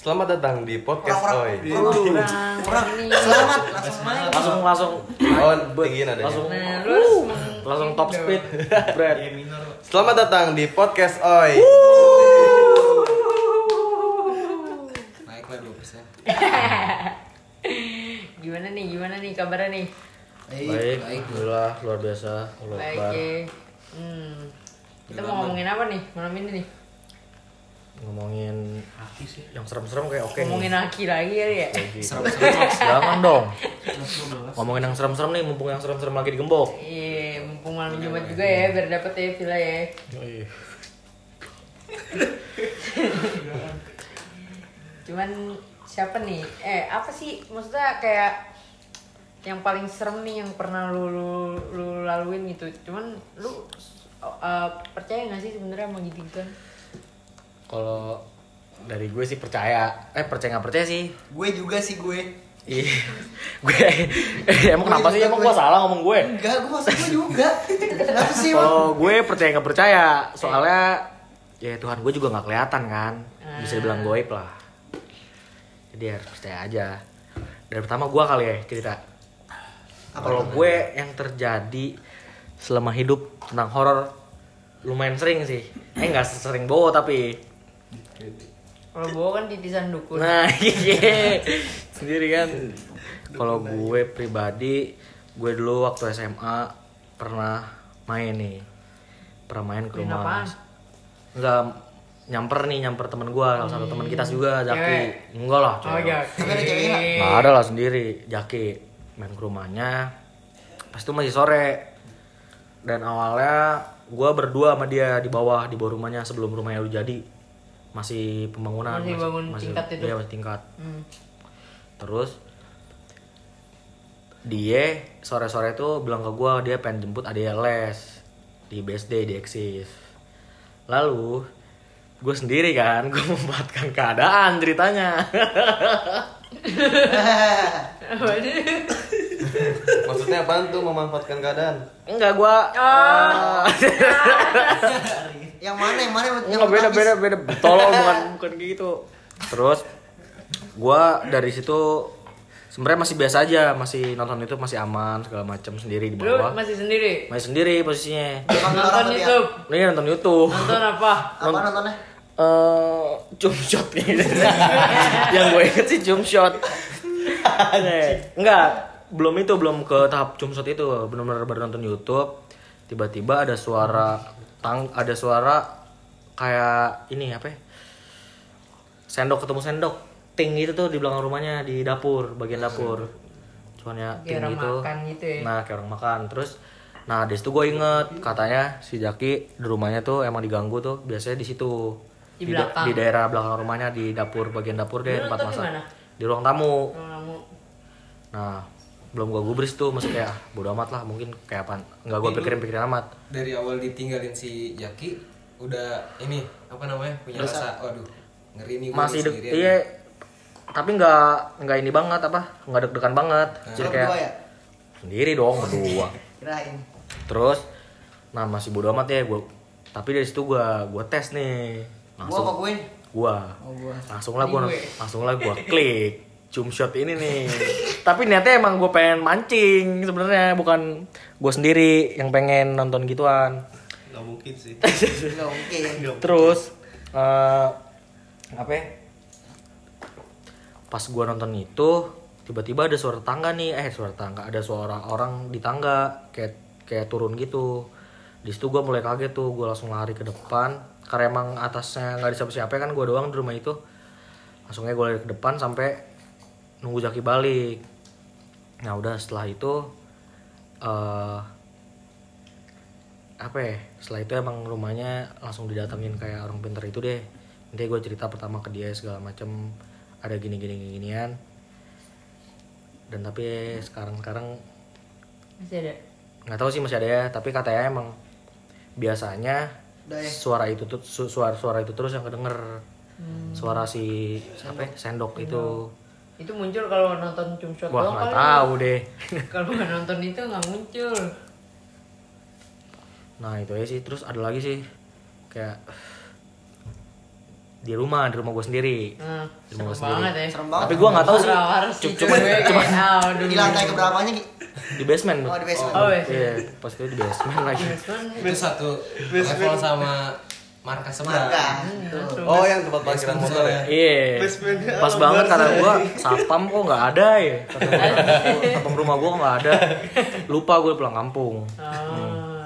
Selamat datang di podcast Oi. Orang-orang Orang Selamat langsung main. langsung langsung Oh, tinggiin adanya. langsung terus hmm. langsung top speed bread Iya, Selamat datang di podcast Oi. Naiklah 2%. gimana nih gimana nih kabarnya nih Baik, baik baik. alhamdulillah luar biasa Allah baik Akbar. ya hmm. kita Gimana? mau ngomongin apa nih malam ini nih ngomongin yang serem-serem kayak oke nih. ngomongin laki lagi kali ya Lagi. Serem-serem. jangan dong ngomongin yang serem-serem nih mumpung yang serem-serem lagi digembok Iya, mumpung malam Jumat juga ya, biar dapet ya villa ya. Cuman siapa nih? Eh, apa sih maksudnya kayak yang paling serem nih yang pernah lu, lu, lu laluin gitu. Cuman lu eh, percaya gak sih sebenarnya sama gitu kan? kalau dari gue sih percaya eh percaya nggak percaya sih Gue juga sih gue. Ih, gue emang kenapa sih emang gue salah ngomong gue Enggak, gue maksud gue juga. Kenapa sih? Bang? Iya. Kalau gue percaya nggak percaya, soalnya ya Tuhan gue juga nggak kelihatan kan, Ah. bisa dibilang goib lah. Jadi harus percaya aja. Dari pertama gue kali ya cerita. Apa Kalau namanya? gue yang terjadi selama hidup tentang horor lumayan sering sih. Eh nggak sering bowo tapi. Kalau bawa kan titisan dukun. Nah iya sendiri kan. Kalau ya? gue pribadi, gue dulu waktu SMA pernah main nih, pernah main ke Main rumah. apaan? Enggak nyamper nih nyamper temen gue, salah satu temen kita juga Jaki. Cewek. Enggak lah, Oh, cewek. ya. Tapi ada ceweknya nggak? Nggak ada lah sendiri, Jaki main ke rumahnya. Pas itu masih sore. Dan awalnya gue berdua sama dia di bawah di bawah rumahnya sebelum rumahnya udah jadi masih pembangunan Masih bangun tingkat itu. iya, masih tingkat Hmm. terus dia sore-sore tuh bilang ke gue dia pengen jemput adik les di BSD di Eksis lalu gue sendiri kan gue memanfaatkan keadaan ceritanya Maksudnya apaan tuh memanfaatkan keadaan? enggak ah. gue Oh. yang mana yang mana yang Enggak Iya, beda menangis? beda beda. Tolong bukan bukan kayak gitu. Terus gua dari situ sebenarnya masih biasa aja, masih nonton itu masih aman segala macam sendiri di Lu bawah. masih sendiri? Masih sendiri posisinya. Nonton orang Nonton tadi ya? YouTube. Ini nonton YouTube. Nonton apa? Apa nontonnya? Eh, jump shot gitu. Yang gue inget sih jump shot. Nih, Enggak, belum itu belum ke tahap jump shot itu. Benar-benar baru nonton YouTube. Tiba-tiba ada suara tang ada suara kayak ini apa ya? Sendok ketemu sendok. Ting itu tuh di belakang rumahnya di dapur, bagian dapur. Suaranya Kayak ting orang gitu. makan gitu ya. Nah, kayak orang makan. Terus nah di situ gue inget katanya si Jaki di rumahnya tuh emang diganggu tuh biasanya di situ Di da- belakang. di daerah belakang rumahnya di dapur bagian dapur deh Lu tempat nonton di masak mana? di ruang tamu Kalau kamu nah belum gua gubris tuh masih kayak "Ah, bodo amat lah mungkin kayak apa nggak gua pikirin pikirin amat dari awal ditinggalin si Jaki udah ini apa namanya punya rasa waduh ngeri nih gua masih nih deg sendirian. iya tapi nggak nggak ini banget apa nggak deg-degan banget jadi Lo kayak berdua ya? sendiri dong berdua Kirain. terus nah masih bodo amat ya gua tapi dari situ gua gua tes nih Gua apa langsung gue? gua Oh, gua. langsung lah gua Gue. langsung lah gua klik cum shot ini nih tapi niatnya emang gue pengen mancing sebenarnya bukan gue sendiri yang pengen nonton gituan Gak mungkin sih. Enggak mungkin. terus eh apa ya? pas gua nonton itu tiba-tiba ada suara tangga nih eh suara tangga ada suara orang di tangga kayak kayak turun gitu di situ gua mulai kaget tuh gua langsung lari ke depan karena emang atasnya nggak ada siapa-siapa kan gua doang di rumah itu langsungnya gua lari ke depan sampai nunggu jaki balik nah udah setelah itu eh apa ya setelah itu emang rumahnya langsung didatengin kayak orang pinter itu deh nanti gue cerita pertama ke dia segala macem ada gini gini gini, ginian dan tapi sekarang sekarang masih ada? nggak tahu sih masih ada ya tapi katanya emang biasanya Udah ya? suara itu tuh su- suara suara itu terus yang kedenger Hmm. suara si apa ya, sendok itu Itu muncul kalau nonton cum shot wah doang ya? nggak kali. tahu deh Kalau nggak nonton itu nggak muncul. nah itu aja sih terus ada lagi sih kayak di rumah di rumah gue sendiri Hmm, Di rumah serem gua sendiri. banget ya. Serem banget. tapi gue nggak tahu sih Rawar cuma cuma cuma cuma Ah, Di lantai keberapanya Ki? di basement Oh di basement. Oh, wes. iya pas itu di basement lagi itu satu level sama markas sebelah Enggak. Oh, yang tempat parkiran motor ya. Iya, pas banget kata gua sapam kok nggak ada ya, Kata gua, sapam rumah gua kok nggak ada, lupa gue pulang kampung. Ah,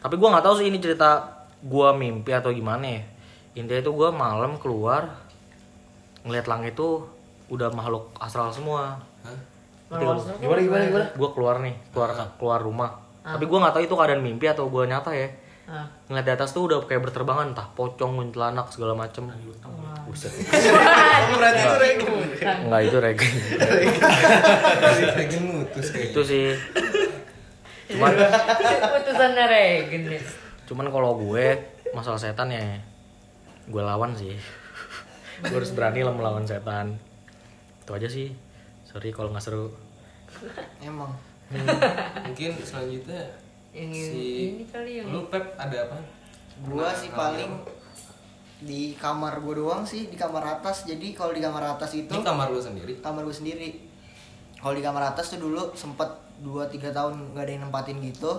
Tapi gua nggak tahu sih ini cerita gua mimpi atau gimana ya. Intinya itu gua malam keluar ngeliat langit tuh udah makhluk astral semua. Hah? Gimana gimana gimana? Gua keluar nih, keluar keluar rumah. Tapi gua nggak tahu itu keadaan mimpi atau gua nyata ya. Ah. Ngeliat di atas tuh udah kayak berterbangan, entah pocong, kuntilanak segala macem. Buset. Berarti itu Enggak itu regen. Lagi mutus itu kayaknya sih Putusannya Regen nih. cuman kalau gue masalah setan ya gue lawan sih gue harus berani lah melawan setan itu aja sih sorry kalau nggak seru Emang. mungkin selanjutnya Yang si ini kali yang lu pep ada apa Gua sih paling di kamar gua doang sih di kamar atas. Jadi kalau di kamar atas itu ini kamar lu sendiri kamar gue sendiri kalau di kamar atas tuh dulu sempet 2-3 tahun nggak ada yang nempatin gitu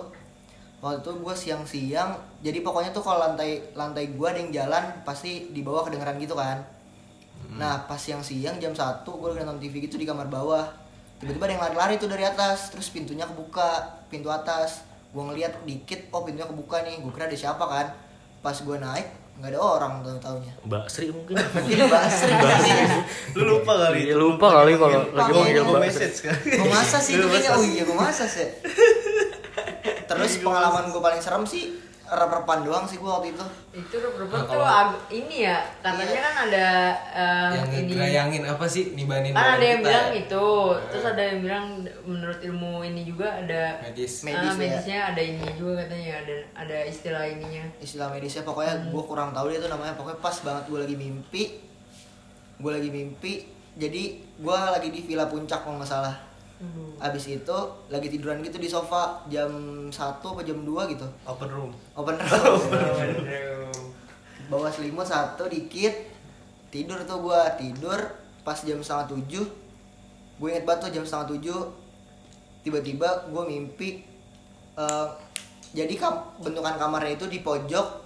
waktu itu gue siang-siang jadi pokoknya tuh kalau lantai lantai gue ada yang jalan pasti di bawah kedengeran gitu kan nah pas siang-siang jam 1 gue lagi nonton TV gitu di kamar bawah tiba-tiba ada yang lari-lari tuh dari atas terus pintunya kebuka pintu atas gue ngeliat dikit oh pintunya kebuka nih gue kira ada siapa kan pas gue naik nggak ada orang tuh taunya mbak Sri mungkin jadi basri Lu lupa kali. Iya, lupa kali kalau lagi Gua- manggil gua mbak Sri message kan. gue masa sih itu Lu kayaknya masa oh sih? iya gue masa sih terus pengalaman gue paling serem sih rep-repan doang sih gue waktu itu itu rubber tuh Nah, kalau- Iya. ag- ini ya katanya kan ada eh, yang ini ngedrayangin apa sih nibanin kan badan ada yang kita. ya? bilang itu terus ada yang bilang menurut ilmu ini juga ada Me- medis ya? medisnya, Medisnya. medisnya ada ini juga katanya ada ada istilah ininya istilah medisnya Hmm. pokoknya gue kurang tahu dia tuh namanya pokoknya pas banget gue lagi mimpi gue lagi mimpi jadi gue lagi di villa puncak kalau nggak salah abis itu lagi tiduran gitu di sofa jam 1 apa jam 2 gitu Open room. open room bawa selimut satu dikit tidur tuh gua tidur pas jam setengah tujuh gue inget banget tuh jam setengah tujuh tiba-tiba gue mimpi eh, jadi kam- bentukan kamarnya itu di pojok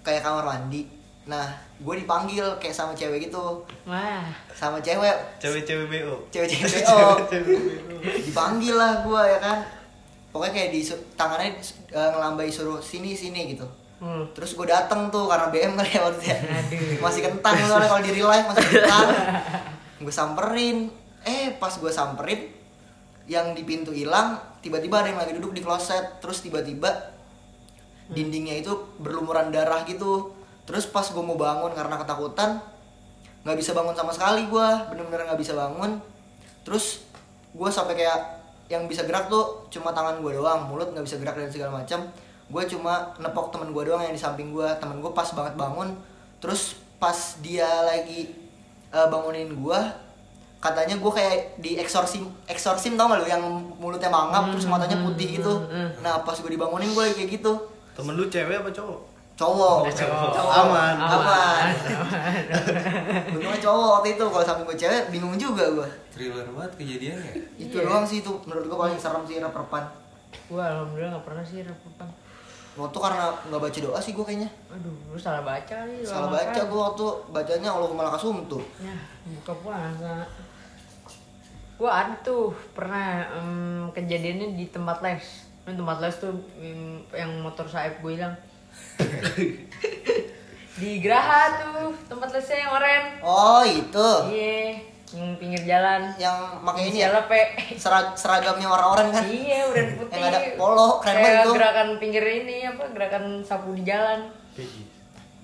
kayak kamar mandi nah gue dipanggil kayak sama cewek gitu wah sama cewek Cewek-cewek BO. cewek-cewek oh dipanggil lah gue ya kan pokoknya kayak di tangannya dis- eh, ngelambai suruh sini sini gitu hmm. terus gue dateng tuh karena BM kali ya waktu itu ya. Aduh. masih kentang soalnya kalau di real life masih kentang gue samperin eh pas gue samperin yang di pintu hilang tiba-tiba ada yang lagi duduk di kloset terus tiba-tiba dindingnya itu berlumuran darah gitu terus pas gue mau bangun karena ketakutan nggak bisa bangun sama sekali gue bener-bener nggak bisa bangun terus gue sampai kayak yang bisa gerak tuh cuma tangan gue doang mulut nggak bisa gerak dan segala macam gue cuma nepok temen gue doang yang di samping gue temen gue pas banget bangun terus pas dia lagi eh, bangunin gue katanya gue kayak di eksorsim eksorsim tau gak lu yang mulutnya mangap terus matanya putih gitu nah pas gue dibangunin gue kayak gitu Temen lu cewek apa cowok? cowok Aman. aman untungnya cowok waktu itu kalau samping gue cewek bingung juga gue thriller banget kejadiannya itu Iya. doang sih itu menurut gue paling serem sih reperpan gua alhamdulillah nggak pernah sih rebutan waktu karena nggak baca doa sih gue kayaknya aduh lu salah baca kali lu salah makan. baca gue waktu bacanya Allahumma lakasum tuh Ya, buka puasa. Gua ada tuh pernah em, kejadiannya di tempat les. Ini tempat les tuh em, yang motor saib gue hilang. di Graha tuh tempat lesnya yang oren. oh itu Iya, yang pinggir jalan. yang pakai ini ya Inisialnya P. sera- seragamnya orang-orang kan Iya, udah putih. Yang ada polo, keren banget Kayak tuh. gerakan pinggir ini apa gerakan sapu di jalan.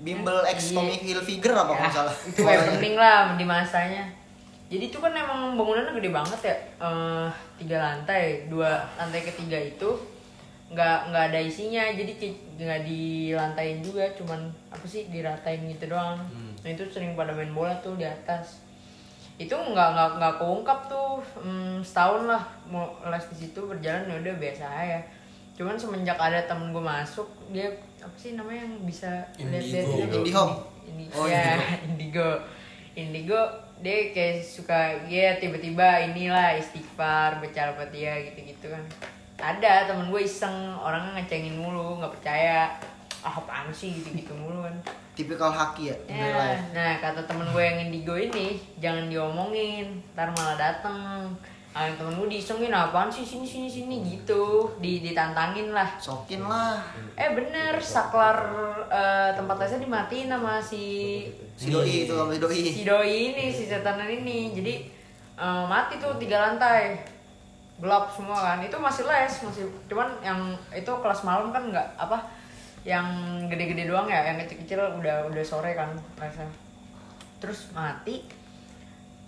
bimbel X Iya. Tommy Hilfiger apa kalau Ya, nggak salah itu yang penting lah di masanya jadi itu kan emang bangunannya gede banget ya Eh, tiga lantai dua lantai ketiga itu nggak nggak ada isinya jadi ki- nggak di lantai juga cuman apa sih diratain gitu doang Hmm. nah itu sering pada main bola tuh di atas itu nggak nggak nggak keungkap tuh Hmm, setahun lah mau les di situ berjalan ya udah biasa aja cuman semenjak ada temen gue masuk dia apa sih namanya yang bisa Indigo. lihat-lihat Indihome. ini Oh, ya indigo indigo dia kayak suka ya tiba-tiba inilah istighfar baca al-fatihah gitu-gitu kan ada temen gue iseng orangnya ngecengin mulu nggak percaya ah apaan sih gitu-gitu mulu kan Tipikal haki ya, Ya, nilai. nah kata temen gue yang indigo ini jangan diomongin, ntar malah dateng. Ah temen gue disengin apaan sih sini sini sini gitu, di ditantangin lah. Sokin lah. Eh bener saklar eh, tempat lesnya dimatiin sama si Si Iya. doi itu sama si doi. si doi ini si setanan ini, jadi eh, mati tuh tiga lantai gelap semua kan itu masih les masih cuman yang itu kelas malam kan nggak apa yang gede-gede doang ya yang kecil-kecil udah udah sore kan lesnya terus mati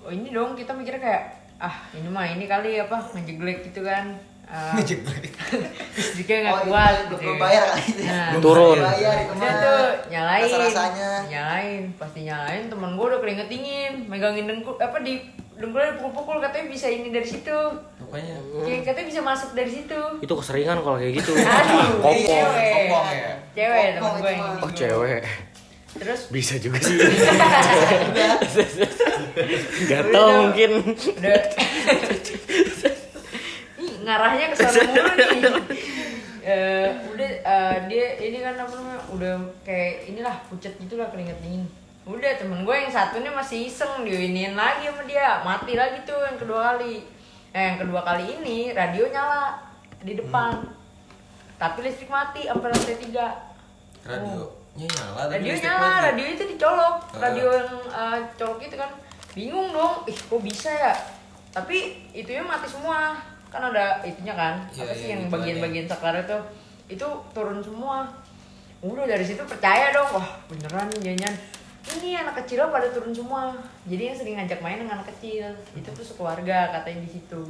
oh ini dong kita mikir kayak ah ini mah ini kali apa ngejeglek gitu kan Eh, listriknya nggak Oh, ini kuat belum- gitu. belum bayar kali itu ya. Nah. Belum Turun. Bayar itu Udah mah. tuh nyalain. Rasa-rasanya. Nyalain, pasti nyalain. Temen gue udah keringet dingin, megangin dengkul apa di dengkulnya dipukul-pukul katanya bisa ini dari situ. Rupanya. Hmm. Kayak katanya bisa masuk dari situ. Itu keseringan kalau kayak gitu. Aduh, Kopong. cewek. Kopong ya? Cewek Kopong temen gue itu yang gitu. mah. Oh, cewek. Terus Bisa juga sih. Udah. Gak tau mungkin. udah Ih, ngarahnya ke sana mulu nih. Eh, udah eh, dia ini kan apa namanya udah kayak inilah pucat gitulah keringet dingin udah temen gue yang satunya masih iseng diinin lagi sama dia mati lagi tuh yang kedua kali eh yang kedua kali ini radio nyala di depan tapi listrik mati sampai lantai tiga Radionya nyala tapi radio listrik nyala mati. radio itu dicolok Ah. radio yang eh, colok itu kan bingung dong ih kok bisa ya tapi itunya mati semua kan ada itunya kan Iya, apa sih iya, yang gitu bagian-bagian saklar itu itu turun semua udah dari situ percaya dong wah beneran nih jangan ini anak kecil pada turun semua jadi yang sering ngajak main dengan anak kecil itu tuh sekeluarga katanya di situ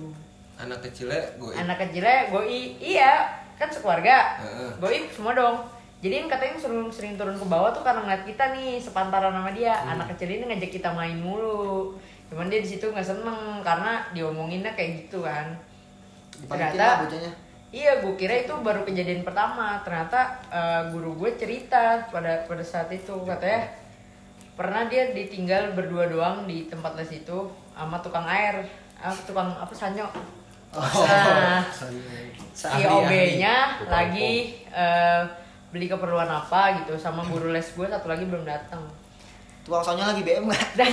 Anak kecilnya gue anak kecilnya goi iya kan sekeluarga Oh, iya. Heeh. goi semua dong jadi yang katanya yang sering sering turun ke bawah tuh karena ngeliat kita nih sepantaran sama dia anak kecil ini ngajak kita main mulu cuman dia di situ nggak seneng karena diomonginnya kayak gitu kan Dipanitin lah ternyata bocahnya. iya gue kira itu baru kejadian pertama ternyata eh, guru gue cerita pada pada saat itu katanya pernah dia ditinggal berdua doang di tempat les itu sama tukang air ah, tukang apa sanyo Nah, si OB-nya lagi eh, beli keperluan apa gitu sama guru les gue satu lagi belum datang. Tuang soalnya lagi kan? BM nggak? Dan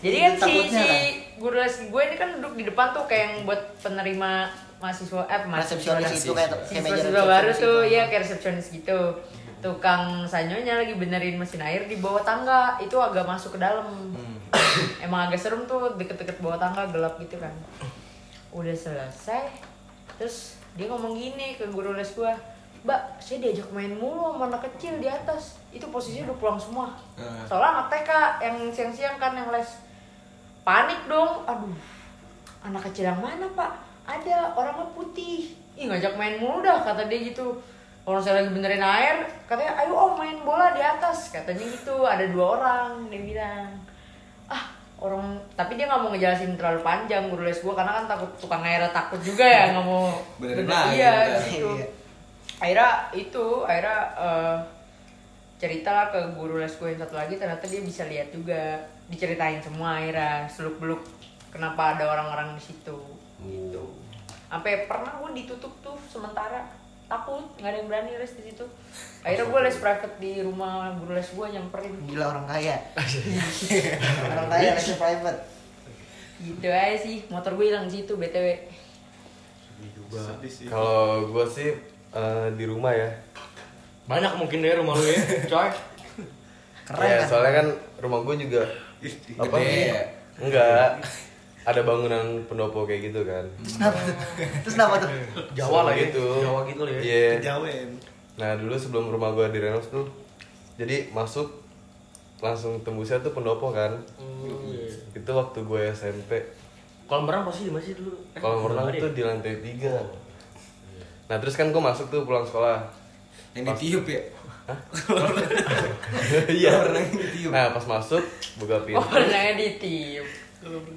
jadi kan si, Takutnya si kan? guru les gue ini kan duduk di depan tuh kayak yang buat penerima mahasiswa eh Resepsionis itu kayak kayak meja gitu. mahasiswa baru resepsionis tuh itu. ya kayak resepsionis gitu. Tukang sanyonya lagi benerin mesin air di bawah tangga itu agak masuk ke dalam. Hmm. Emang agak serem tuh deket-deket bawah tangga gelap gitu kan. Udah selesai terus dia ngomong gini ke guru les gua Mbak, saya diajak main mulu sama anak kecil di atas. Itu posisinya udah pulang semua. Hmm. Eh. Soalnya anak TK yang siang-siang kan yang les panik dong aduh anak kecil yang mana pak ada orangnya putih ih ngajak main mulu dah kata dia gitu orang saya lagi benerin air katanya ayo om main bola di atas katanya gitu ada dua orang dia bilang ah orang tapi dia nggak mau ngejelasin terlalu panjang guru les gue karena kan takut tukang air takut juga ya nggak mau bener- Benerin lagi, iya bener. gitu Iya. akhirnya itu akhirnya eh, ceritalah ke guru les gue yang satu lagi ternyata dia bisa lihat juga diceritain semua akhirnya seluk beluk kenapa ada orang-orang di situ gitu sampai pernah gue ditutup tuh sementara takut nggak ada yang berani les di situ akhirnya gue les private di rumah guru les gue nyamperin Gila orang kaya. orang kaya lesnya private. gitu aja sih motor gue hilang di situ btw Sedih sih. Kalau gue sih eh, di rumah ya. Banyak mungkin dari rumah lu ya, coy. Keren ya, kan? soalnya kan rumah gue juga Iya, apa? Gede ya? Enggak. Ada bangunan pendopo kayak gitu kan. Terus kenapa tuh? Terus kenapa tuh? Jawa lah Serem gitu. Jawa gitu lah ya. Iya. Kejauhan. Nah dulu sebelum rumah gue direnov tuh, jadi masuk langsung tembusnya tuh pendopo kan. Oh, iya. Itu waktu gue Eh, SMP. Kolam renang pasti di masih dulu. Eh, Kolam renang ada tuh ya? Iya. di lantai tiga. Nah terus kan gue masuk tuh pulang sekolah. Yang ditiup ya? Iya. Kolam renang yang ditiup. Nah pas masuk buka pintu. oh pernah di tim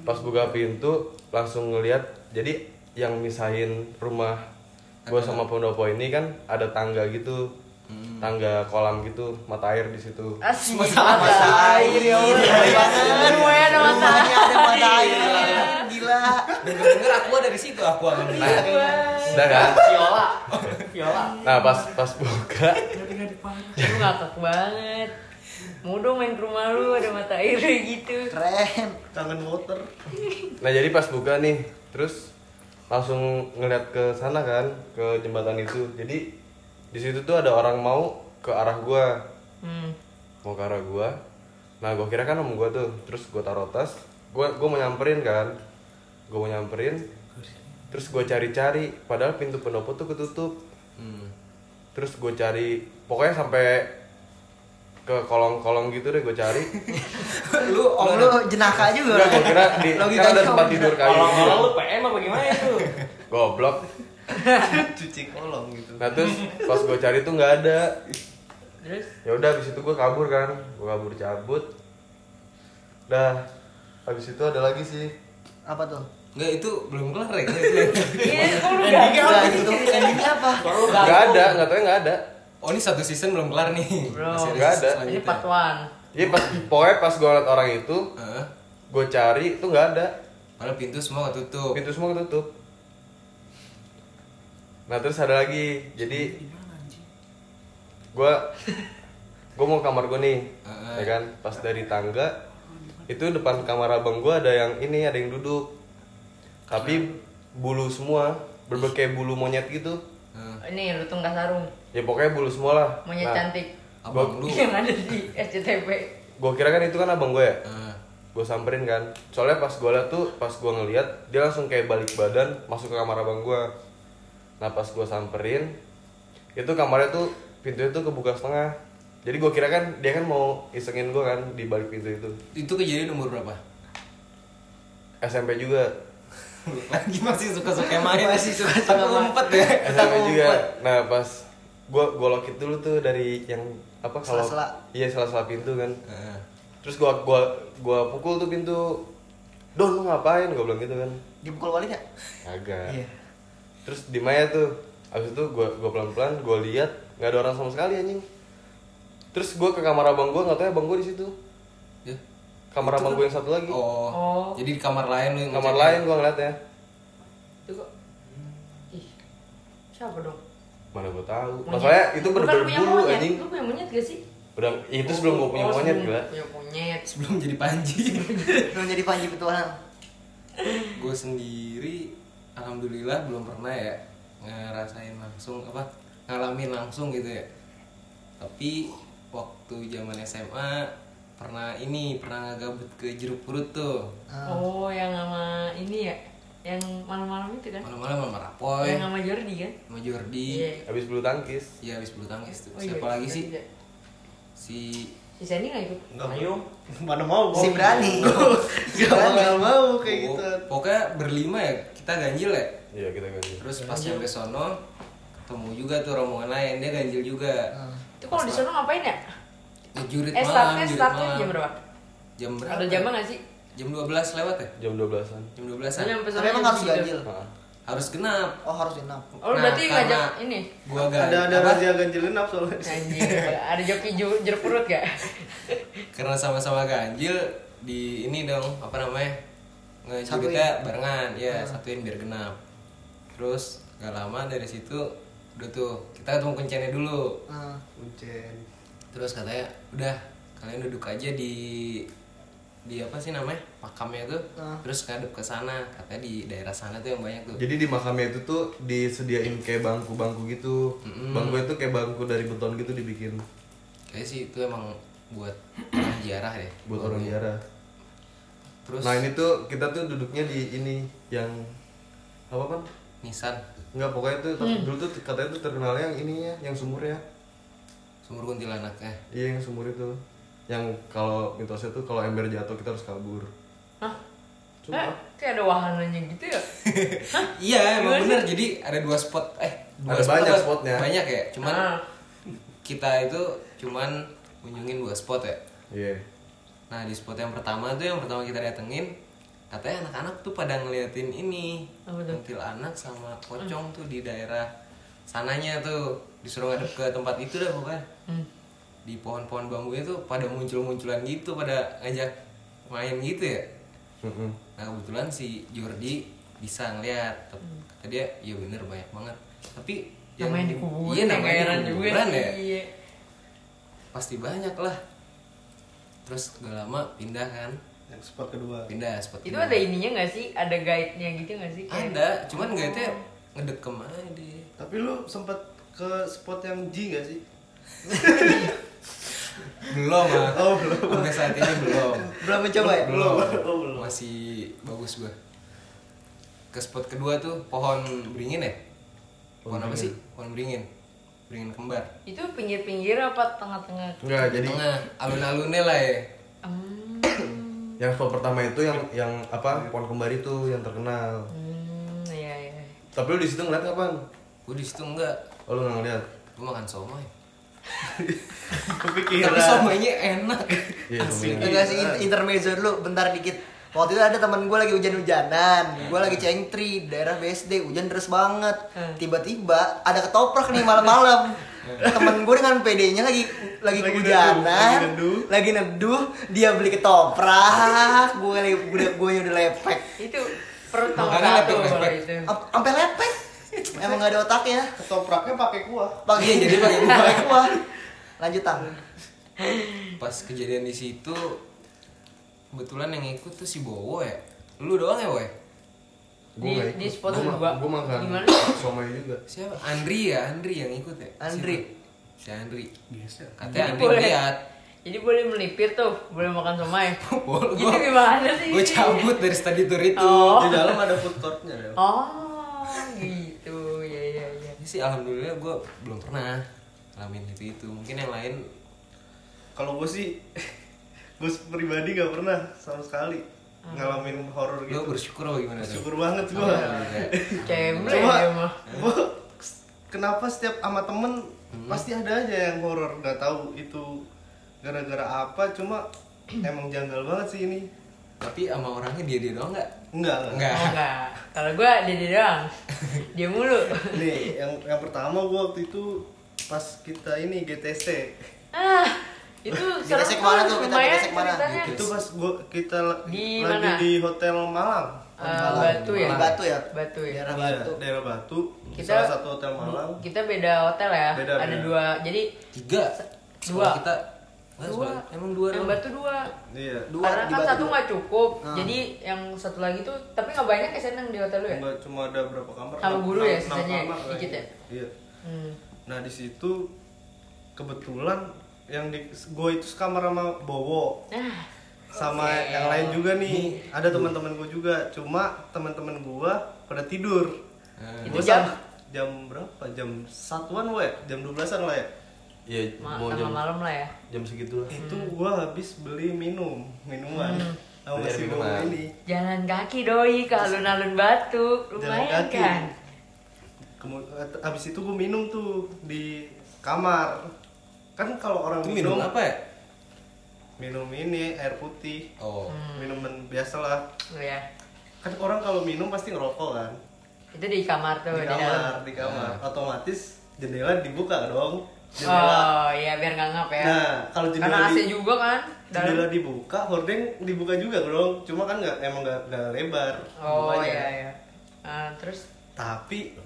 pas buka pintu langsung ngeliat jadi yang misahin rumah gua sama pendopo ini kan ada tangga gitu Hmm. tangga kolam gitu mata air di situ Asik. Mata Iya, air, ya Allah. Baik banget. Gue ada mata Rumahnya ada mata air. Gila. Dengar dengar aku dari situ aku akan air. udah kan Eh, Viola. Viola. nah pas pas buka Lu ngakak banget. Mau dong main ke rumah lu ada mata air gitu. Keren. Kangen water. nah jadi pas buka nih terus langsung ngeliat ke sana kan ke jembatan itu jadi di situ tuh ada orang mau ke arah gua Hmm. mau ke arah gua nah gua kira kan om gua tuh terus gua taruh tas gua gua mau nyamperin kan gua mau nyamperin terus gua cari-cari padahal pintu pendopo tuh ketutup Hmm. terus gua cari pokoknya sampai ke kolong-kolong gitu deh gua cari Lu Om lu jenaka juga. Enggak, gua kira di Logikanya kan ada om tempat jenaka. tidur kayu gitu. Kalau lu PM apa gimana itu? goblok Cuci kolong gitu. nah terus pas gua cari tuh nggak ada Terus ya udah habis itu gua kabur kan gua kabur cabut dah habis itu ada lagi sih Apa tuh? Enggak itu belum kelar ya. Iya, kok lu gitu? Endingnya gak? apa? Endingnya apa? nggak ada nggak tahu nggak ada Oh ini satu season belum kelar nih. Bro, Masih nggak season ada. Ini selanjutnya. part 1. Iya pas pokoknya pas gue ngeliat orang itu, Heeh. gue cari itu nggak ada. Padahal pintu semua ketutup. Pintu semua ketutup. Nah terus ada lagi, jadi gue gue mau ke kamar gue nih, Heeh. ya kan? Pas dari tangga itu depan kamar abang gue ada yang ini ada yang duduk, Iya. tapi bulu semua berbagai bulu monyet gitu. Heeh. Ini lu tunggas sarung. Ya pokoknya bulu Nah, semua lah. Monyet cantik. Abang lu. Yang ada di SCTV. Gue kira kan itu kan abang gue ya. Heeh. gue samperin kan soalnya pas gue liat tuh pas gue ngeliat dia langsung kayak balik badan masuk ke kamar abang gue nah pas gue samperin itu kamarnya tuh pintunya tuh kebuka setengah jadi gue kira kan dia kan mau isengin gue kan di balik pintu itu Itu kejadian umur berapa? SMP juga Lagi masih suka-suka main. Masih suka-suka Aku main. umpet ya. SMP juga nah pas gue gue lokit dulu tuh dari yang apa kalau Sela-sela. iya salah-salah pintu kan Heeh. terus gue gua gua pukul tuh pintu don lu ngapain gue bilang gitu kan Dipukul balik ya? Kagak. Iya. Terus di Maya tuh, abis itu gua gua pelan-pelan gua lihat nggak ada orang sama sekali anjing. Terus gua ke kamar abang gua nggak tahu ya abang gua di situ. Ya. Kamar abang gua yang satu lagi. Oh. Oh. Jadi di kamar lain lu yang Kamar ngecek. ya? lain gua ya. ngeliatnya. Itu kok. Ih. Siapa dong? Mana gua tahu. Monyet. Masalahnya itu Bukan bener-bener punya bulu monyet. anjing. Lu punya monyet gak sih? Udah itu sebelum gua punya Oh, monyet sebelum gila. Punya monyet. Sebelum jadi panji. Belum jadi panji petualang. gue sendiri alhamdulillah belum pernah ya ngerasain langsung apa ngalamin langsung gitu ya tapi waktu zaman SMA pernah ini pernah gabut ke jeruk purut tuh Oh, yang sama ini ya. Yang malam-malam itu kan. malam-malam sama Rapoy Yang sama Jordi kan? sama Jordi Abis bulu tangkis. ya habis bulu tangkis tuh Oh, Iya. siapa iya, lagi iya, sih iya. si Si Sandy gak ikut? Ayo. Oh, Mana mau? Si berani. Si Gak berani. bakal mau kayak Pokok- gitu. pokoknya berlima ya kita ganjil ya Iya kita ganti. terus pas sampai sono ketemu juga tuh rombongan lain dia ganjil juga Itu kalau di sana ngapain ya? ngejurit Ah. Eh, malam startnya jurit startnya malam. jam berapa? jam berapa Ada jamnya gak sih? jam 12 lewat ya Jam 12-an. jam 12 Soalnya an sampai Tapi sana emang jam harus tiga. ganjil. Nah, harus genap Nah, Oh harus genap. Oh, lu berarti karena ngajak ini? gua gak Ada ada razia ganjil genap soalnya. Anjing, ada joki ju- jeruk perut gak? karena sama-sama ganjil di ini dong apa namanya ngejuritnya barengan Hmm. ya satuin biar genap terus gak lama dari situ udah tuh kita ketemu kencennya dulu Hmm. Uncen. terus katanya udah kalian duduk aja di di apa sih namanya makamnya tuh Hmm. terus ngadep ke sana katanya di daerah sana tuh yang banyak tuh Jadi di makamnya itu tuh disediain kayak bangku-bangku gitu. Bangku itu kayak bangku dari beton gitu dibikin Kayaknya sih itu emang buat orang ziarah ya. buat orang ziarah. Terus Nah ini tuh kita tuh duduknya di ini yang apa kan? nisan Enggak pokoknya tuh tapi dulu tuh katanya tuh terkenalnya yang ininya, yang sumurnya. sumur eh. kuntilanaknya. Iya yang sumur itu. Yang kalau mitosnya tuh kalau ember jatuh kita harus kabur. Hah? Eh, kayak ada wahananya gitu ya? Iya emang bener jadi ada dua spot eh dua Ada banyak apa? spotnya. Banyak ya cuman Ah. kita itu cuman kunjungin dua spot ya. Iya. Nah di spot yang pertama tuh yang pertama kita datengin katanya anak-anak tuh pada ngeliatin ini Apa tuh? kuntilanak anak sama pocong tuh di daerah sananya tuh disuruh ngadep ke tempat itu dah pokoknya Hmm. di pohon-pohon bambunya tuh pada muncul-munculan gitu pada ngajak main gitu ya Mm-mm. nah kebetulan si Jordi bisa ngeliat Tep- kata dia ya bener banyak banget tapi yang Hmm. namanya di kuburan iya yang namanya heran di juga kuburan ya iya pasti banyak lah terus gak lama pindah kan Yang spot kedua. pindah seperti itu ada ininya nggak sih ada guide nya gitu nggak sih Kayak- ada cuman gak itu ya, ngedekem aja dia Tapi lu sempet ke spot yang G gak sih? belum ah Oh, belum. sampai saat ini belum Belum mencoba ya? belum Oh, belum. masih bagus gua ke spot kedua tuh pohon beringin ya pohon, apa sih pohon beringin beringin kembar itu pinggir-pinggir apa tengah-tengah Enggak, di jadi tengah alun-alunnya lah ya hmm, yang spot pertama itu yang yang apa pohon kembar itu yang terkenal. hmm iya iya Tapi lu di situ ngeliat kapan? gua di situ enggak Oh, lu nggak ngeliat? gua makan somai Kepikiran. tapi somainya enak Iya, Asli. somainya. Kita kasih in- intermezzo dulu bentar dikit. Waktu itu ada teman gue lagi hujan-hujanan, gue lagi cengtri daerah BSD, hujan deras banget. Tiba-tiba ada ketoprak nih malam-malam. Temen gue dengan PD-nya lagi lagi, Lagi hujanan, neduh, lagi lagi neduh. neduh. dia beli ketoprak, gue lagi gue gue udah lepek, itu perut nomor Makanya satu lepek-lepek. kalau itu Am- sampai lepek, emang gak ada otaknya. Ketopraknya pakai kuah. Pakai jadi pakai gua. Pakai gua. Lanjut tang. pas kejadian di situ kebetulan yang ikut tuh si Bowo ya lu doang ya Boy Gua Di- nggak di ikut. spot Gua lu ma- dua. Gua makan Gimana? somai juga. siapa Andri ya Andri yang ikut ya Andri. Siapa? si Andri Jadi katanya Andri boleh. lihat jadi boleh melipir tuh boleh makan somai Boleh, itu gua- gimana sih gue cabut dari study tour itu Oh. Di dalam ada food courtnya Del. oh gitu ya ya ya Ini sih alhamdulillah gue belum pernah ngalamin itu itu mungkin yang lain Kalau gue sih, gue pribadi gak pernah sama sekali ngalamin horor gue gitu. bersyukur apa gimana tuh Syukur banget gue. Alhamdulillah. cemble Cuma, ya mah gua kenapa setiap sama temen pasti ada aja yang horor nggak tahu itu gara-gara apa cuma emang janggal banget sih ini tapi sama orangnya dia dia doang nggak enggak enggak nggak oh enggak kalau gue dia dia doang dia mulu nih yang yang pertama gua waktu itu pas kita ini GTC ah itu serem gesek mana tuh? Kita lumayan digesek mana? ceritanya. itu pas gua kita la- Di lagi mana? di hotel Malang Eh, batu ya Di Batu ya? batu ya Daerah Iya, Batu. daerah Batu Kita- Hmm? salah satu hotel Malang kita beda hotel ya Beda, ada beda. dua jadi tiga Dua. Sekolah kita nggak Dua. sekolah emang dua yang doang. batu dua iya Dua, karena di kan Batu satu dua. nggak cukup Hmm. Ah. jadi yang satu lagi tuh tapi nggak banyak ya seneng di hotel lu ya Enggak, cuma ada berapa kamar Sama enam- guru ya, enam- enam sisanya kamar lah, dikit ya? iya hmm. Nah di situ kebetulan yang di gue itu sekamar sama Bowo ah sama yang lain juga nih ada teman-teman gue juga cuma teman-teman gue pada tidur Eh, Itu Gua jam? sama- jam berapa jam satuan we jam 12an lah ya Iya, ma- mau tengah jam malam lah ya jam segitu lah. itu gue habis beli minum minuman Hmm. sama Beli si Bowo minuman. ini jalan kaki doi ke alun-alun batu jalan lumayan kaki kan Kemu- habis itu gue minum tuh di kamar kan kalau orang itu minum apa ya minum ini air putih oh Hmm. minuman biasalah Oh ya kan orang kalau minum pasti ngerokok kan itu di kamar tuh di di dalam. kamar di kamar otomatis jendela dibuka dong oh jendela iya biar nggak ngap ya Nah, kalau jendela karena AC di- juga kan dalam jendela dibuka hordeng dibuka juga dong cuma kan nggak emang nggak nggak lebar oh bukanya. iya iya Ah, terus tapi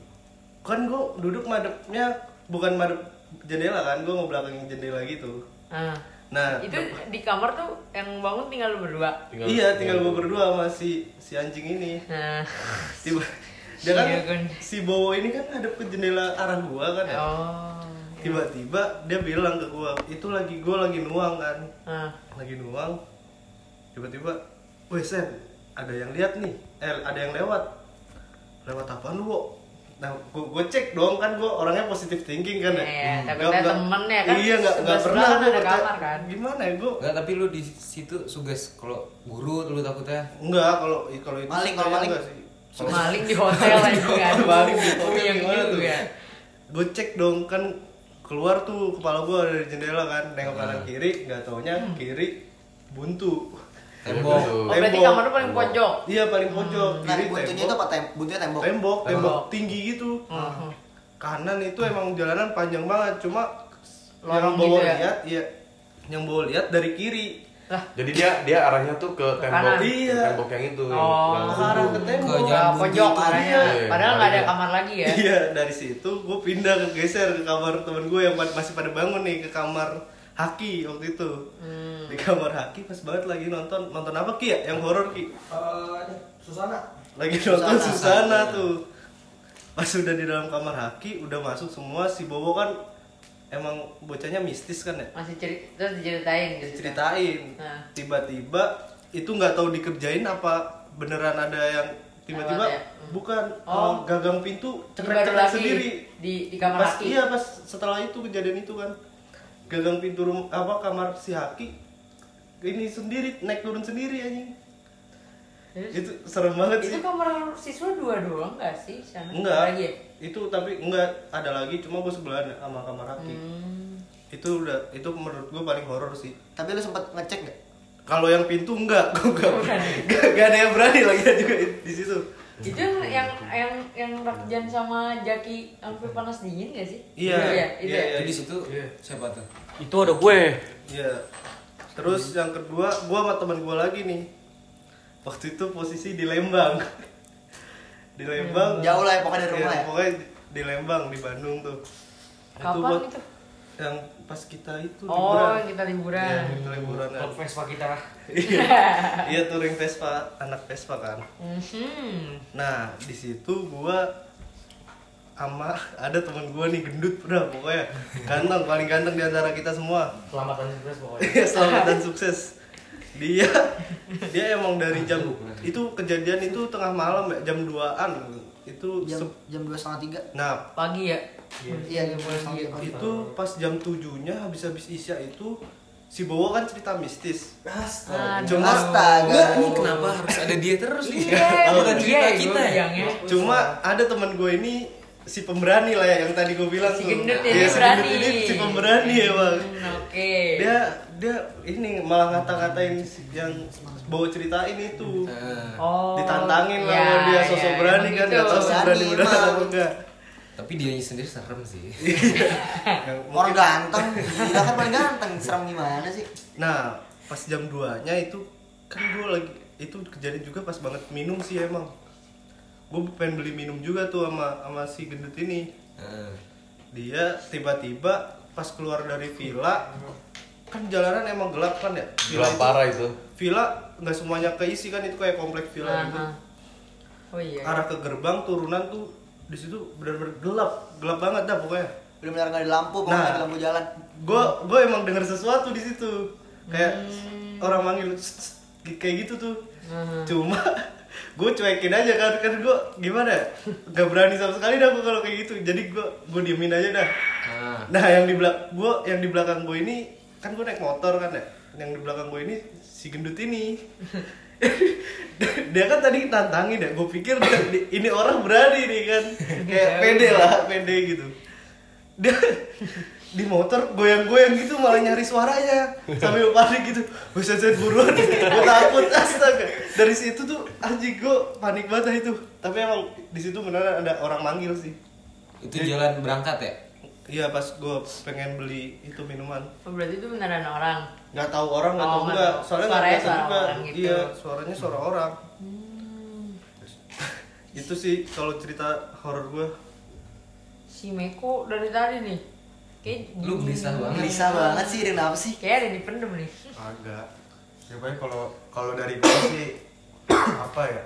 kan gue duduk madepnya bukan madep jendela kan gue ngebelakangin jendela gitu ah. nah itu di kamar tuh yang bangun tinggal lu berdua Tinggal- iya tinggal gue berdua sama si si anjing ini nah tiba dia kan Iya, Gun. si Bowo ini kan ada ke jendela arah gua kan ya. oh tiba-tiba dia bilang ke gua itu lagi gua lagi nuang kan ah. lagi nuang tiba-tiba weh Sam ada yang lihat nih eh ada yang lewat lewat apa lu Wo?" nah gua, gua cek dong kan gua orangnya positif thinking kan ya Iya, tapi Nggak- saya nggak- temen ya kan, iya nggak nggak pernah sebelah-sebelahan gua ada percaya- kamar kan. gimana ya gua Enggak, tapi lu di situ suges kalau guru lu takutnya enggak kalau kalau itu Maling, kalau kayaknya maling. nggak sih Kalau- maling di hotel aja kan Maling di hotel Iya gimana tuh? juga gue cek dong kan keluar tuh kepala gue dari jendela kan nengok kanan Hmm. kiri nggak taunya kiri buntu tembok Hmm. oh berarti Tembok. kamar lu paling pojok Hmm. iya paling pojok Nah, kiri buntunya itu tembok apa tem buntunya tembok. Oh. tembok tembok tinggi gitu kanan itu emang jalanan panjang banget cuma yang Lorong bawa gitu ya? lihat iya yang bawa lihat dari kiri Jadi dia dia arahnya tuh ke tembok, kanan. Iya. tembok yang itu. Oh. yang ke kubu. arah ke tembok Ke jalan Ke Iya, gitu. pojok buntu. arahnya. Iya, Padahal nggak ada iya. kamar lagi ya. gitu. Iya dari situ gue pindah ke geser ke kamar temen gue yang masih pada bangun nih ke kamar Haki waktu itu Hmm, di kamar Haki pas banget lagi nonton nonton apa Ki ya yang horor Ki Eh, Susana lagi nonton Susana. Susana tuh pas udah di dalam kamar Haki udah masuk semua si Bobo kan emang bocahnya mistis kan ya Masih cerita terus diceritain gitu. ceritain Nah. tiba-tiba itu nggak tahu dikerjain apa beneran ada yang tiba-tiba Lewat ya? bukan Oh. oh. gagang pintu Baru cekrek-cekrek lagi sendiri di di kamar pas laki. iya pas setelah itu kejadian itu kan gagang pintu rum apa kamar si Haki ini sendiri naik turun sendiri anjing Terus, itu serem banget itu sih kamar siswa dua doang nggak sih? Sana? Ada enggak Lagi ya? itu tapi enggak ada lagi cuma gue sebelahan sama kamar Haki Hmm. itu udah itu menurut gue paling horor sih Tapi lu sempet ngecek gak? kalau yang pintu enggak gue enggak gak, ada yang berani lagi juga di situ Itu yang yang yang yang Rakjan sama Jaki sampai panas dingin gak sih? Iya, Itu ya, itu iya, ya. iya. Jadi di situ siapa tuh? Itu ada gue. Iya. Terus yang kedua, gua sama teman gua lagi nih. Waktu itu posisi di Lembang. di Lembang. Jauh lah ya, pokoknya dari rumah Eh, Iya, ya. Pokoknya di Lembang di Bandung tuh. Kapan buat itu? Yang pas kita itu Oh, liburan. kita liburan. Iya, kita liburan. Klub Vespa kita Iya. Iya, touring Vespa, anak Vespa kan. Mhm. Nah, di situ gua ama ada teman gua nih gendut udah pokoknya ganteng paling ganteng di antara kita semua. Selamatan sukses pokoknya Iya, selamat dan sukses. Dia dia emang dari jam itu kejadian itu tengah malam ya, jam 2-an. Itu Jam se- jam dua setengah tiga. nah, Pagi ya. Iya jam dua setengah tiga. itu pas jam 7-nya habis-habis Isya itu si Bowo kan cerita mistis. Nah, Cuma Astaga. Ini kenapa harus ada dia terus nih? Iya, Bukan cerita iya, kita gua ya. bilangnya. cuma iya. ada teman gue ini si pemberani lah ya yang tadi gue bilang Si tuh. gendut ya, Iya, dia si berani. gendut ini si pemberani ya, Bang. Hmm, Oke. Dia dia ini malah ngata-ngatain yang Bowo ceritain itu. Nah, Oh. ditantangin lah ya, sama dia sosok ya, berani emang kan gitu. gak tau sih Berani berani beneran emang. apa enggak tapi dia sendiri serem sih. Yang Orang mungkin- ganteng, gila kan paling ganteng, serem gimana sih? nah pas jam 2 nya itu kan gue lagi itu kejadian juga pas banget minum sih emang gue pengen beli minum juga tuh sama sama si gendut ini Nah, dia tiba-tiba pas keluar dari villa kan jalanan emang gelap kan ya villa Gelap itu- parah itu. villa nggak semuanya keisi kan itu kayak komplek villa gitu Aha. Oh iya. arah ke gerbang turunan tuh di situ benar-benar gelap gelap banget dah pokoknya Bener-bener gak ada lampu, pokoknya Nah. ada lampu jalan. gue gue emang denger sesuatu di situ kayak orang manggil "Tss, tss," kayak gitu tuh cuma gue cuekin aja kan kan gue gimana ya? nggak berani sama sekali dah gue kalau kayak gitu jadi gue gue diemin aja dah nah, nah yang di belak gue yang di belakang gue ini kan gue naik motor kan ya yang di belakang gue ini si gendut ini dia kan tadi tantangin ya gue pikir dia- di- ini orang berani nih kan kayak pede lah pede gitu dia di motor goyang-goyang gitu malah nyari suaranya sambil panik gitu buset buset buruan gue takut astaga dari situ tuh anjing gue panik banget dah itu tapi emang di situ beneran ada orang manggil sih itu jalan berangkat ya? Iya pas gue pengen beli itu minuman Oh, berarti itu beneran orang. nggak tahu orang nggak Oh, tahu nggak enggak tahu. soalnya nggak Suaranya kelihatan suara juga orang gitu. Hmm. iya suaranya suara orang itu sih kalau cerita horor gue Si Meko dari tadi nih. Kayak Lu gelisah banget. Gelisah banget sih, dia kenapa sih? Kayak ada yang dipendem nih. Agak Ya paling kalau kalau dari gue sih Apa ya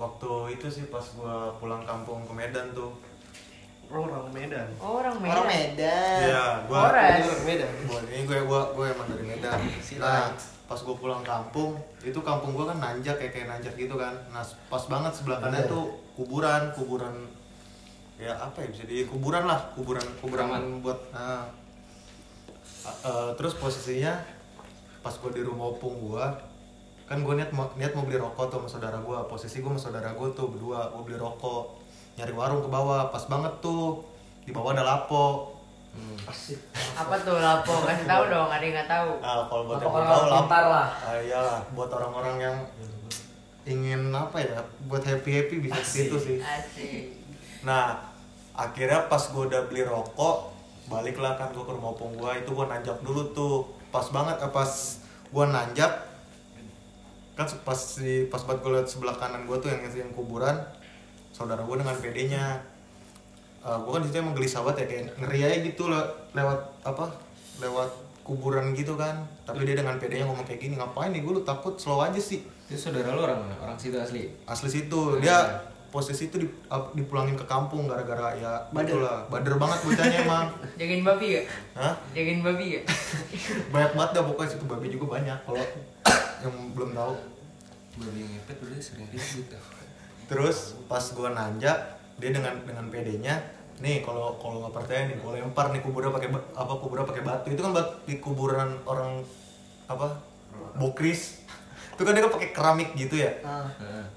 Waktu itu sih pas gue pulang kampung ke Medan tuh orang Medan Oh, orang merah. Orang Medan. Iya, gue Ores. Medan Gua- ini gue gue gue emang dari Medan nah pas gue pulang kampung itu kampung gue kan nanjak kayak kayak nanjak gitu kan nah pas banget sebelah kanan tuh kuburan kuburan ya apa ya bisa di kuburan lah kuburan kuburan buat nah. A- eh, terus posisinya pas gue di rumah opung gue kan gue niat mau niat mau beli rokok tuh sama saudara gue posisi gue sama saudara gue tuh berdua gue beli rokok nyari warung ke bawah pas banget tuh di bawah ada lapo Apa tuh lapo? Kasih tahu dong, ada yang nggak tahu. Nah, kalau buat Atau yang belum orang tahu lah. pintar lah. Ah, iyalah, buat orang-orang yang ingin apa ya, buat happy happy bisa ke situ sih. Asik. Nah, akhirnya pas gue udah beli rokok baliklah kan gue ke rumah opung gue itu gue nanjak dulu tuh pas banget eh, pas gue nanjak kan se- pas di pas banget gue liat sebelah kanan gue tuh yang yang kuburan saudara gue dengan PD-nya gue kan disitu emang gelisah banget ya kayak ngeri aja gitu le- lewat apa lewat kuburan gitu kan tapi dia dengan PD-nya ngomong kayak gini ngapain nih gue lu takut slow aja sih Itu saudara lu orang mana? Orang situ asli. asli Iya, situ dia posisi itu di- ap- dipulangin ke kampung gara-gara ya Bader. itulah bader banget bocahnya emang Jagain babi gak? Hah? Jagain babi gak? banyak banget dah pokoknya situ babi juga banyak kalau yang belum tahu Babi yang ngepet "Ya, udah gitu." sering ribut dah. terus pas gua nanjak dia dengan dengan PD-nya nih kalau kalau nggak percaya nih gua lempar nih kuburan pakai ba- apa kuburan pakai batu itu kan buat di kuburan orang apa bokris itu kan dia kan pakai keramik gitu ya Ah.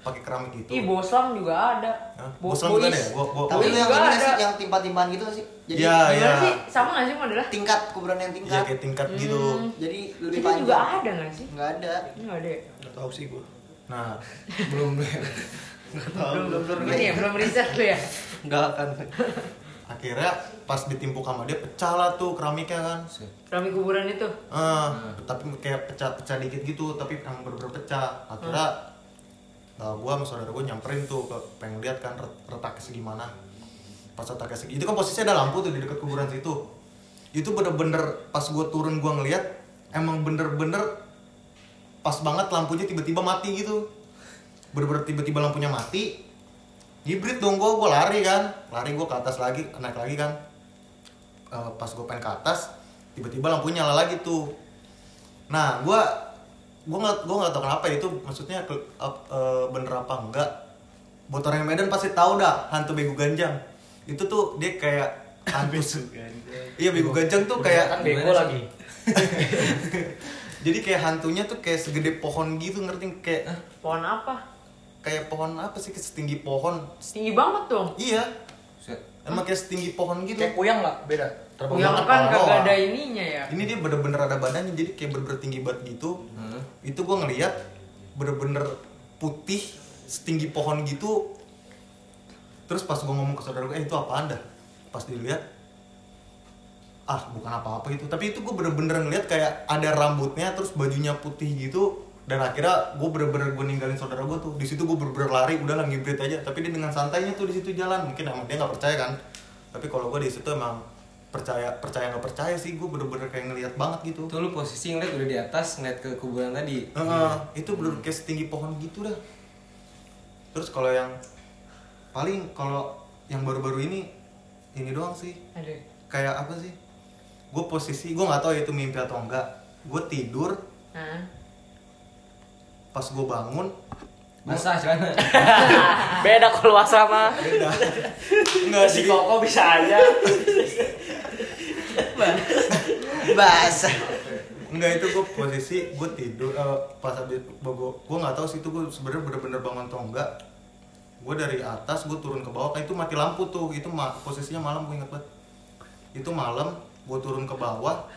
pakai keramik gitu Ih, Boslam juga ada. Hah? Bo- Boslam Bois. juga ada ya? Gua- gua- Tapi Bois lu yang juga ini ada. sih yang timpa-timpaan gitu nggak sih. Jadi Iya, Gimana iya. sih? Sama gak sih modelnya? tingkat kuburan yang Iya tingkat. kayak tingkat gitu Jadi lebih Kita panjang. juga ada gak sih? Nggak ada. Enggak ada ya? Gak tau sih gue nah Belum Gak tau Belum, belum, belum ini ya? Belum riset lu ya? Gak akan akhirnya pas ditimpuk sama dia pecah lah tuh keramiknya kan Rami kuburan itu? Eh, tapi kayak pecah-pecah dikit gitu tapi yang bener-bener pecah akhirnya eh, gua sama saudara gua nyamperin tuh ke, pengen lihat kan ret- retaknya segimana pas retaknya segi itu kan posisinya ada lampu tuh di dekat kuburan situ itu bener-bener pas gua turun gua ngeliat emang bener-bener pas banget lampunya tiba-tiba mati gitu bener-bener tiba-tiba lampunya mati hibrid dong gua gua lari kan lari gua ke atas lagi naik lagi kan Eh, pas gue pengen ke atas tiba-tiba lampunya nyala lagi tuh nah gue gue nggak gue nggak tahu kenapa itu maksudnya ke- ap- eh, bener apa enggak buat orang yang Medan pasti tahu dah hantu bego ganjang itu tuh dia kayak hantu se- iya bego ganjang tuh kayak kan bego lagi jadi kayak hantunya tuh kayak segede pohon gitu ngerti kayak Pohon apa? kayak pohon apa sih kayak setinggi pohon Tinggi banget dong. iya Set. emang kayak setinggi pohon gitu kayak puyang nggak beda Terbang Yang kan banget kepala kagak doang. ada ininya ya. ini dia bener-bener ada badannya jadi kayak bener-bener tinggi banget gitu Heeh. itu gua ngeliat bener-bener putih setinggi pohon gitu terus pas gua ngomong ke saudara gue eh itu apaan dah pas dilihat ah bukan apa-apa itu tapi itu gue bener-bener ngeliat kayak ada rambutnya terus bajunya putih gitu dan akhirnya gue bener-bener gue ninggalin saudara gue tuh di situ gue bener-bener lari udah lah ngibrit aja tapi dia dengan santainya tuh di situ jalan mungkin emang dia nggak percaya kan tapi kalau gue di situ emang percaya percaya nggak percaya sih gue bener-bener kayak ngeliat banget gitu Itu lu posisi ngeliat udah di atas ngeliat ke kuburan tadi. Heeh, itu bener kayak setinggi pohon gitu dah. Terus kalau yang paling kalau yang baru-baru ini ini doang sih. Aduh. Kayak apa sih? Gue posisi gue nggak tahu ya itu mimpi atau enggak. Gue tidur Hah? pas gue bangun Basah celana. beda kalau asrama beda. Enggak si sih koko bisa aja Bahasa. Enggak itu gue posisi gue tidur eh, pas habis bogo gue nggak tahu sih itu gue sebenarnya bener-bener bangun atau enggak gue dari atas gue turun ke bawah kan itu mati lampu tuh itu ma- posisinya malam gue inget banget itu malam gue turun ke bawah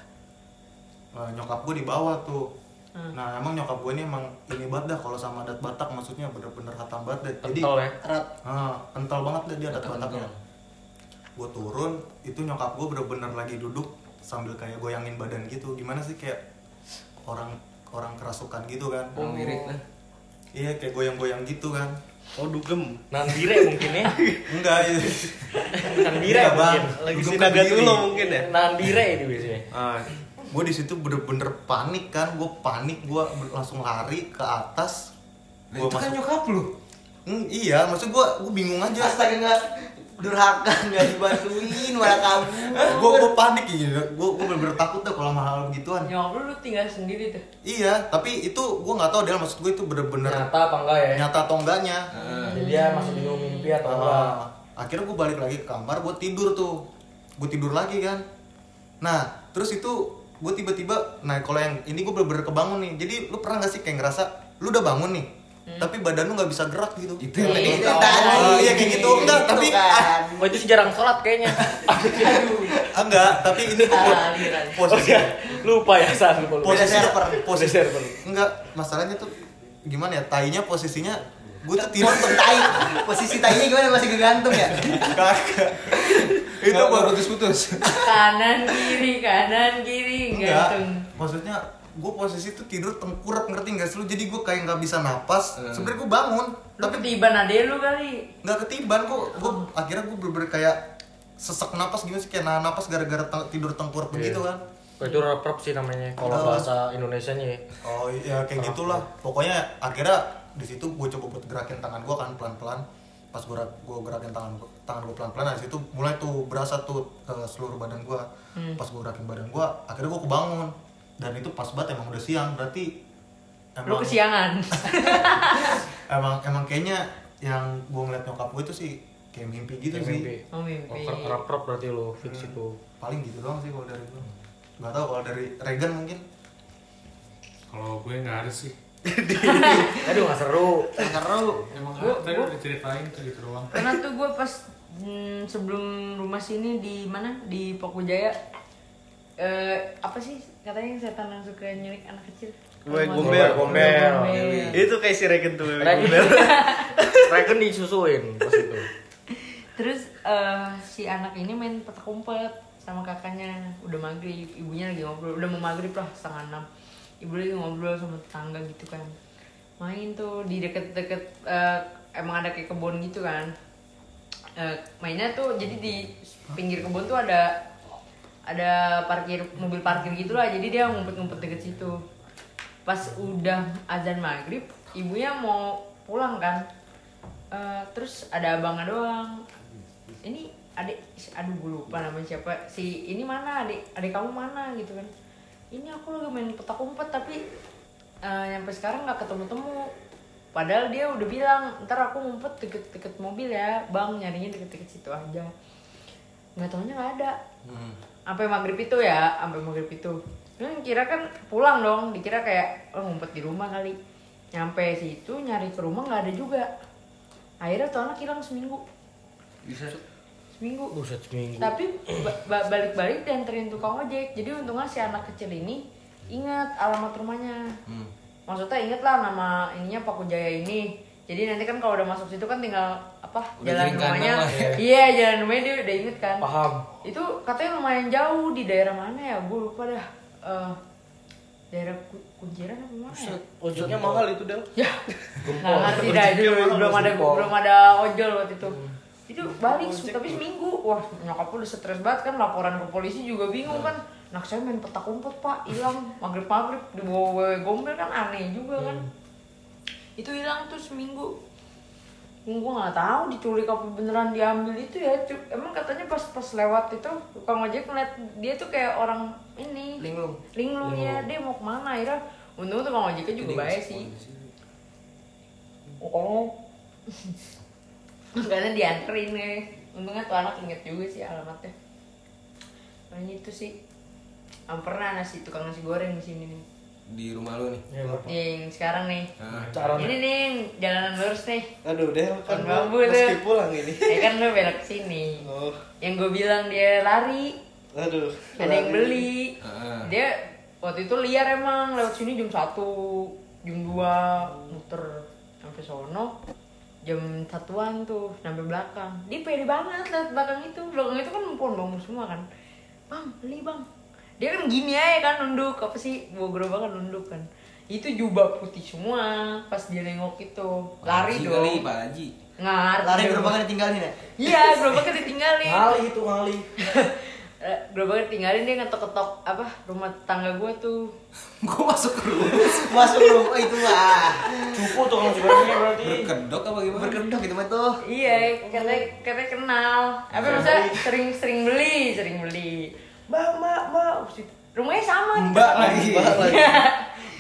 eh, nyokap gue di bawah tuh nah emang nyokap gue ini emang ini banget dah kalau sama adat Batak maksudnya bener-bener hatam banget dah. jadi kental ya Erat. ah, kental banget dah dia adat Kental, Bataknya kental. gue turun itu nyokap gue bener-bener lagi duduk sambil kayak goyangin badan gitu gimana sih kayak orang orang kerasukan gitu kan Oh. Orang wirid lah. iya kayak goyang-goyang gitu kan Oh dugem nandire mungkin ya enggak iya. nandire Enggak, bang mungkin Lagi Dugem sinaga Kediri. dulu mungkin ya nandire ini biasanya Ah, gue di situ bener-bener panik kan gue panik gue langsung lari ke atas Lah, Gua itu kan masuk- nyokap lu. Hmm, iya maksud gue gue bingung aja Astaga nggak durhaka nggak dibantuin malah kabur. gue gue Eh, panik gitu gue gue bener-bener takut tuh kalau sama hal begituan Nyokap lu, lu tinggal sendiri tuh. Iya, tapi itu gue nggak tahu deh maksud gue itu bener-bener nyata nyata, apa enggak ya atau enggaknya. jadi dia masih bingung mimpi atau enggak Ah, akhirnya gue balik lagi ke kamar, gue tidur tuh, gue tidur lagi kan. Nah, terus itu gue tiba-tiba, nah kalau yang ini gue bener-bener kebangun nih. Jadi lu pernah gak sih kayak ngerasa lu udah bangun nih, Hmm. tapi badan lu nggak bisa gerak gitu? Itu yang tadi Itu kita tadi. Oh, iya kayak gitu enggak, Gitu tapi ah, kan. Oh itu sih jarang sholat kayaknya enggak, Ah, tapi ini tuh po- aliran. posisi Oh, Lupa ya San lupa, lupa. posisinya server. posisi Beda server. enggak masalahnya tuh gimana ya tainya posisinya gue tuh tidur Potong tai. Posisi tainya gimana masih kegantung ya? kagak itu Nggak, nggak baru putus-putus kanan kiri kanan kiri gantung Enggak. Maksudnya gue posisi tuh tidur tengkurap ngerti nggak sih lu? Jadi gue kayak nggak bisa napas. Hmm. Sebenernya gue bangun, lu tapi ketiban ade lu kali nggak ketiban kok. Gue akhirnya gue berber kayak sesak napas gimana sih kayak nahan napas gara-gara teng- tidur tengkurap begitu kan. Oh, itu reprep sih namanya kalau Aduh. bahasa Indonesia nya ya. Oh iya kayak gitulah. Pokoknya akhirnya di situ gue coba buat gerakin tangan gue kan pelan-pelan. Pas gue gue gerakin tangan gua, tangan gue pelan-pelan, dari situ mulai tuh berasa tuh ke seluruh badan gue. Pas gue gerakin badan gue, akhirnya gue kebangun. Dan itu pas banget emang udah siang, berarti lu kesiangan emang emang kayaknya yang gue ngeliat nyokap gue itu sih kayak mimpi gitu sih Oh, mimpi. reprep berarti lo fix itu paling gitu doang sih kalau dari gue nggak tahu kalau dari Regan mungkin Kalau gue nggak ada sih. aduh nggak seru Seru. Emang ada, Nah, tadi udah ceritain tuh gitu doang. karena tuh gue pas mm, sebelum rumah sini di mana di Poku Jaya eh apa sih katanya yang setan yang suka nyulik anak kecil Wewe Sama- gombel. Iya, Wewe Gombel. Itu kayak si Regen tuh. Wewe Regen. Gombel. Regen disusuin pas itu terus eh, si anak ini main petak umpet sama kakaknya udah maghrib ibunya lagi ngobrol udah mau maghrib lah setengah enam ibu lagi ngobrol sama tetangga gitu kan main tuh di deket-deket eh, emang ada kayak kebun gitu kan Eh, mainnya tuh jadi di pinggir kebun tuh ada ada parkir mobil parkir gitulah jadi dia ngumpet-ngumpet deket situ pas udah azan maghrib ibunya mau pulang kan Eh, terus ada abangnya doang ini adik aduh gue lupa namanya siapa si ini mana adik adik kamu mana gitu kan ini aku lagi main petak umpet tapi eh, sampai sekarang nggak ketemu temu padahal dia udah bilang ntar aku ngumpet deket-deket mobil ya bang nyarinya deket-deket situ aja nggak taunya nggak ada Hmm. sampai maghrib itu ya sampai maghrib itu kan kira kan pulang dong dikira kayak oh, ngumpet di rumah kali nyampe situ nyari ke rumah nggak ada juga akhirnya tuh anak hilang seminggu seminggu buset seminggu tapi ba- ba- balik-balik dianterin tukang ojek jadi untungnya si anak kecil ini ingat alamat rumahnya Hmm. maksudnya inget lah nama ininya Paku Jaya ini jadi nanti kan kalau udah masuk situ kan tinggal apa Udah jalan kiri kanan rumahnya lah ya. iya jalan rumahnya dia udah inget kan paham itu katanya lumayan jauh di daerah mana ya gue lupa dah Eh, daerah Ku- kunciran apa mana ya? Ojeknya mahal itu, Del. ya nggak ngerti dah itu Ujungnya belum, malah belum ada gempol. belum ada ojol waktu itu itu balik tapi seminggu wah nyokap lu udah stres banget kan laporan ke polisi juga bingung kan anak saya main petak umpet pak hilang maghrib maghrib dibawa wewe gombel kan aneh juga kan itu hilang tuh seminggu gue nggak tahu diculik apa beneran diambil itu ya Cuk. emang katanya pas pas lewat itu tukang ojek ngeliat dia tuh kayak orang ini linglung linglung ya dia mau kemana akhirnya untung tukang ojeknya juga baik sih Oh. Karena dianterin ya. Untungnya tuh anak inget juga sih alamatnya. Makanya itu sih. Am pernah nasi tukang nasi goreng di sini nih. di rumah lu nih Nih, Yang sekarang nih. Nah, Ini nih jalanan lurus nih. Aduh, Del Kan kan bambu, gua Del. mesti pulang ini. Ya kan lu belok sini. Oh, Yang gue bilang dia lari, aduh. ada yang beli. Ah. Dia waktu itu liar emang lewat sini jam 1, jam 2 muter sampai sono jam satuan tuh sampai belakang dia pede banget lihat belakang itu belakang itu kan pohon bambu semua kan bang beli bang dia kan gini aja kan nunduk apa sih bawa gerobakan nunduk kan itu jubah putih semua pas dia nengok itu lari Haji dong kali Pak Haji ngar Lari gerobaknya ditinggalin ya. iya gerobaknya ditinggalin ngali itu ngali Eh, gerobaknya tinggalin dia ngetok-ketok apa rumah tetangga gue tuh gua masuk ke rumah Masuk lu. Oh, itu lah. cupu tuh kalau sebenarnya berarti berkedok apa gimana Berkedok gitu mah tuh. iya katanya katanya kenal apa maksudnya sering sering beli sering beli mbak mbak mbak rumahnya sama nih. mbak lagi Mahal lagi.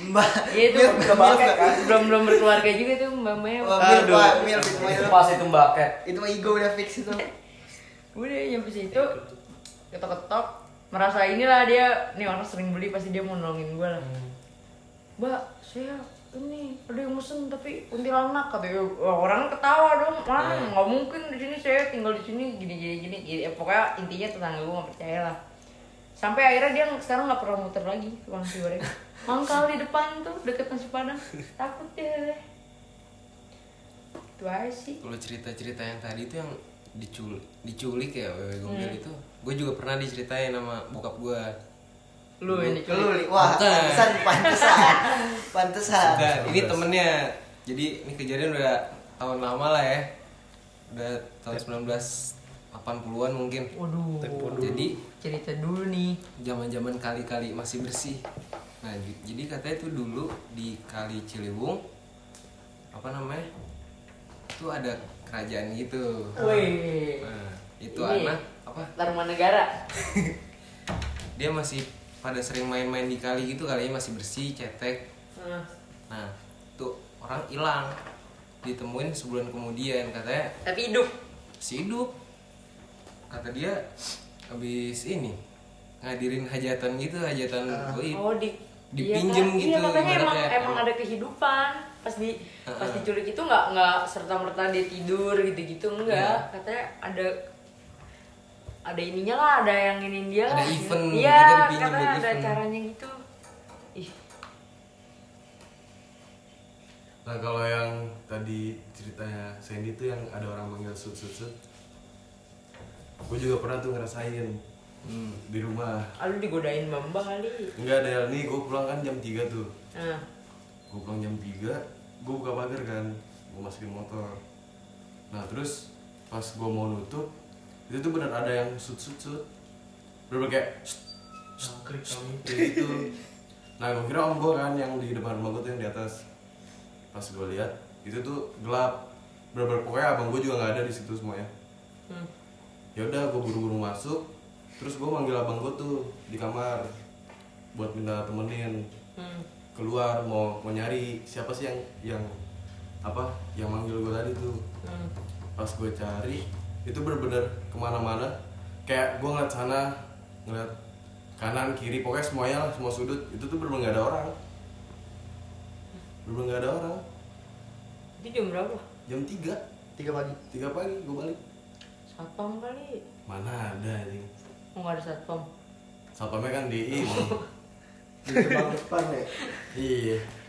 Mbak. Iya itu Milf, belum milf nggak? Oh, belum belum berkeluarga juga tuh mbak mbaknya Wah, milf, Aduh. Pak. Milf, itu mah itu. pas itu mbaket Itu mah ego udah fix itu. udah nyampe situ ketok-ketok merasa inilah dia nih orang sering beli pasti dia mau nolongin gue lah mbak saya ini ada yang mesen tapi kuntilanak kata orang ketawa dong mana nggak mungkin di sini saya tinggal di sini gini gini gini gini." Ya, pokoknya intinya tetangga gue nggak percaya lah sampai akhirnya dia sekarang nggak pernah muter lagi tukang nasi goreng mangkal di depan tuh deket nasi padang takut dia itu aja sih Kalau cerita-cerita yang tadi itu yang diculik, diculik ya wewe gombel Hmm. itu, gue juga pernah diceritain sama bokap gue. lu yang Lu, Li. diculik wah, Bukan. pantesan, pantesan, Ah, pantesan. Enggak, ini temennya. Jadi ini kejadian udah tahun lama lah ya. Udah tahun 1980-an mungkin. Ya. waduh Jadi cerita dulu nih zaman-zaman kali-kali masih bersih. Nah, j- jadi katanya itu dulu di Kali Ciliwung apa namanya? Itu ada kerajaan gitu. woi Nah, itu Ini. anak apa? Taruman negara Dia masih pada sering main-main di kali gitu kali ya, masih bersih, cetek. Nah, Nah, tuh orang hilang. Ditemuin sebulan kemudian katanya tapi hidup si hidup kata dia habis ini ngadirin hajatan gitu hajatan goib oh di iya, Dipinjem kan? gitu, iya makanya emang ibaratnya. emang ada kehidupan pas di pas Heeh. diculik itu nggak nggak serta merta dia tidur gitu gitu enggak Iya. katanya ada ada ininya lah ada yang ingin dia Ada lah. event, iya dia dipinjem karena buat ada event. caranya gitu ih Nah kalau yang tadi ceritanya Sandy tuh yang ada orang manggil sut sut sut Gue juga pernah tuh ngerasain Di rumah ah, lu digodain mbak kali Enggak ada nih gue pulang kan jam 3 tuh nah Gue pulang jam 3 Gue buka pagar kan Gue masukin motor Nah terus pas gue mau nutup Itu tuh bener ada yang sut sut sut Bener kayak sut, sut, sut, kayak gitu Nah gue kira om gue kan yang di depan rumah gue tuh yang di atas Pas gue lihat itu tuh gelap Bener-bener pokoknya abang gue juga nggak ada di situ semuanya hmm. ya udah gue buru-buru masuk terus gue manggil abang gue tuh di kamar buat minta temenin Hmm. keluar mau mau nyari siapa sih yang yang apa yang manggil gue tadi tuh Hmm. pas gue cari itu bener-bener kemana-mana kayak gue ngeliat sana ngeliat kanan kiri pokoknya semuanya lah semua sudut itu tuh bener-bener gak ada orang bener-bener gak ada orang itu jam berapa jam 3 Tiga pagi. 3 pagi gue balik satpam kali mana ada anjing oh, nggak ada satpam satpamnya kan di ini Di gerbang depan ya iya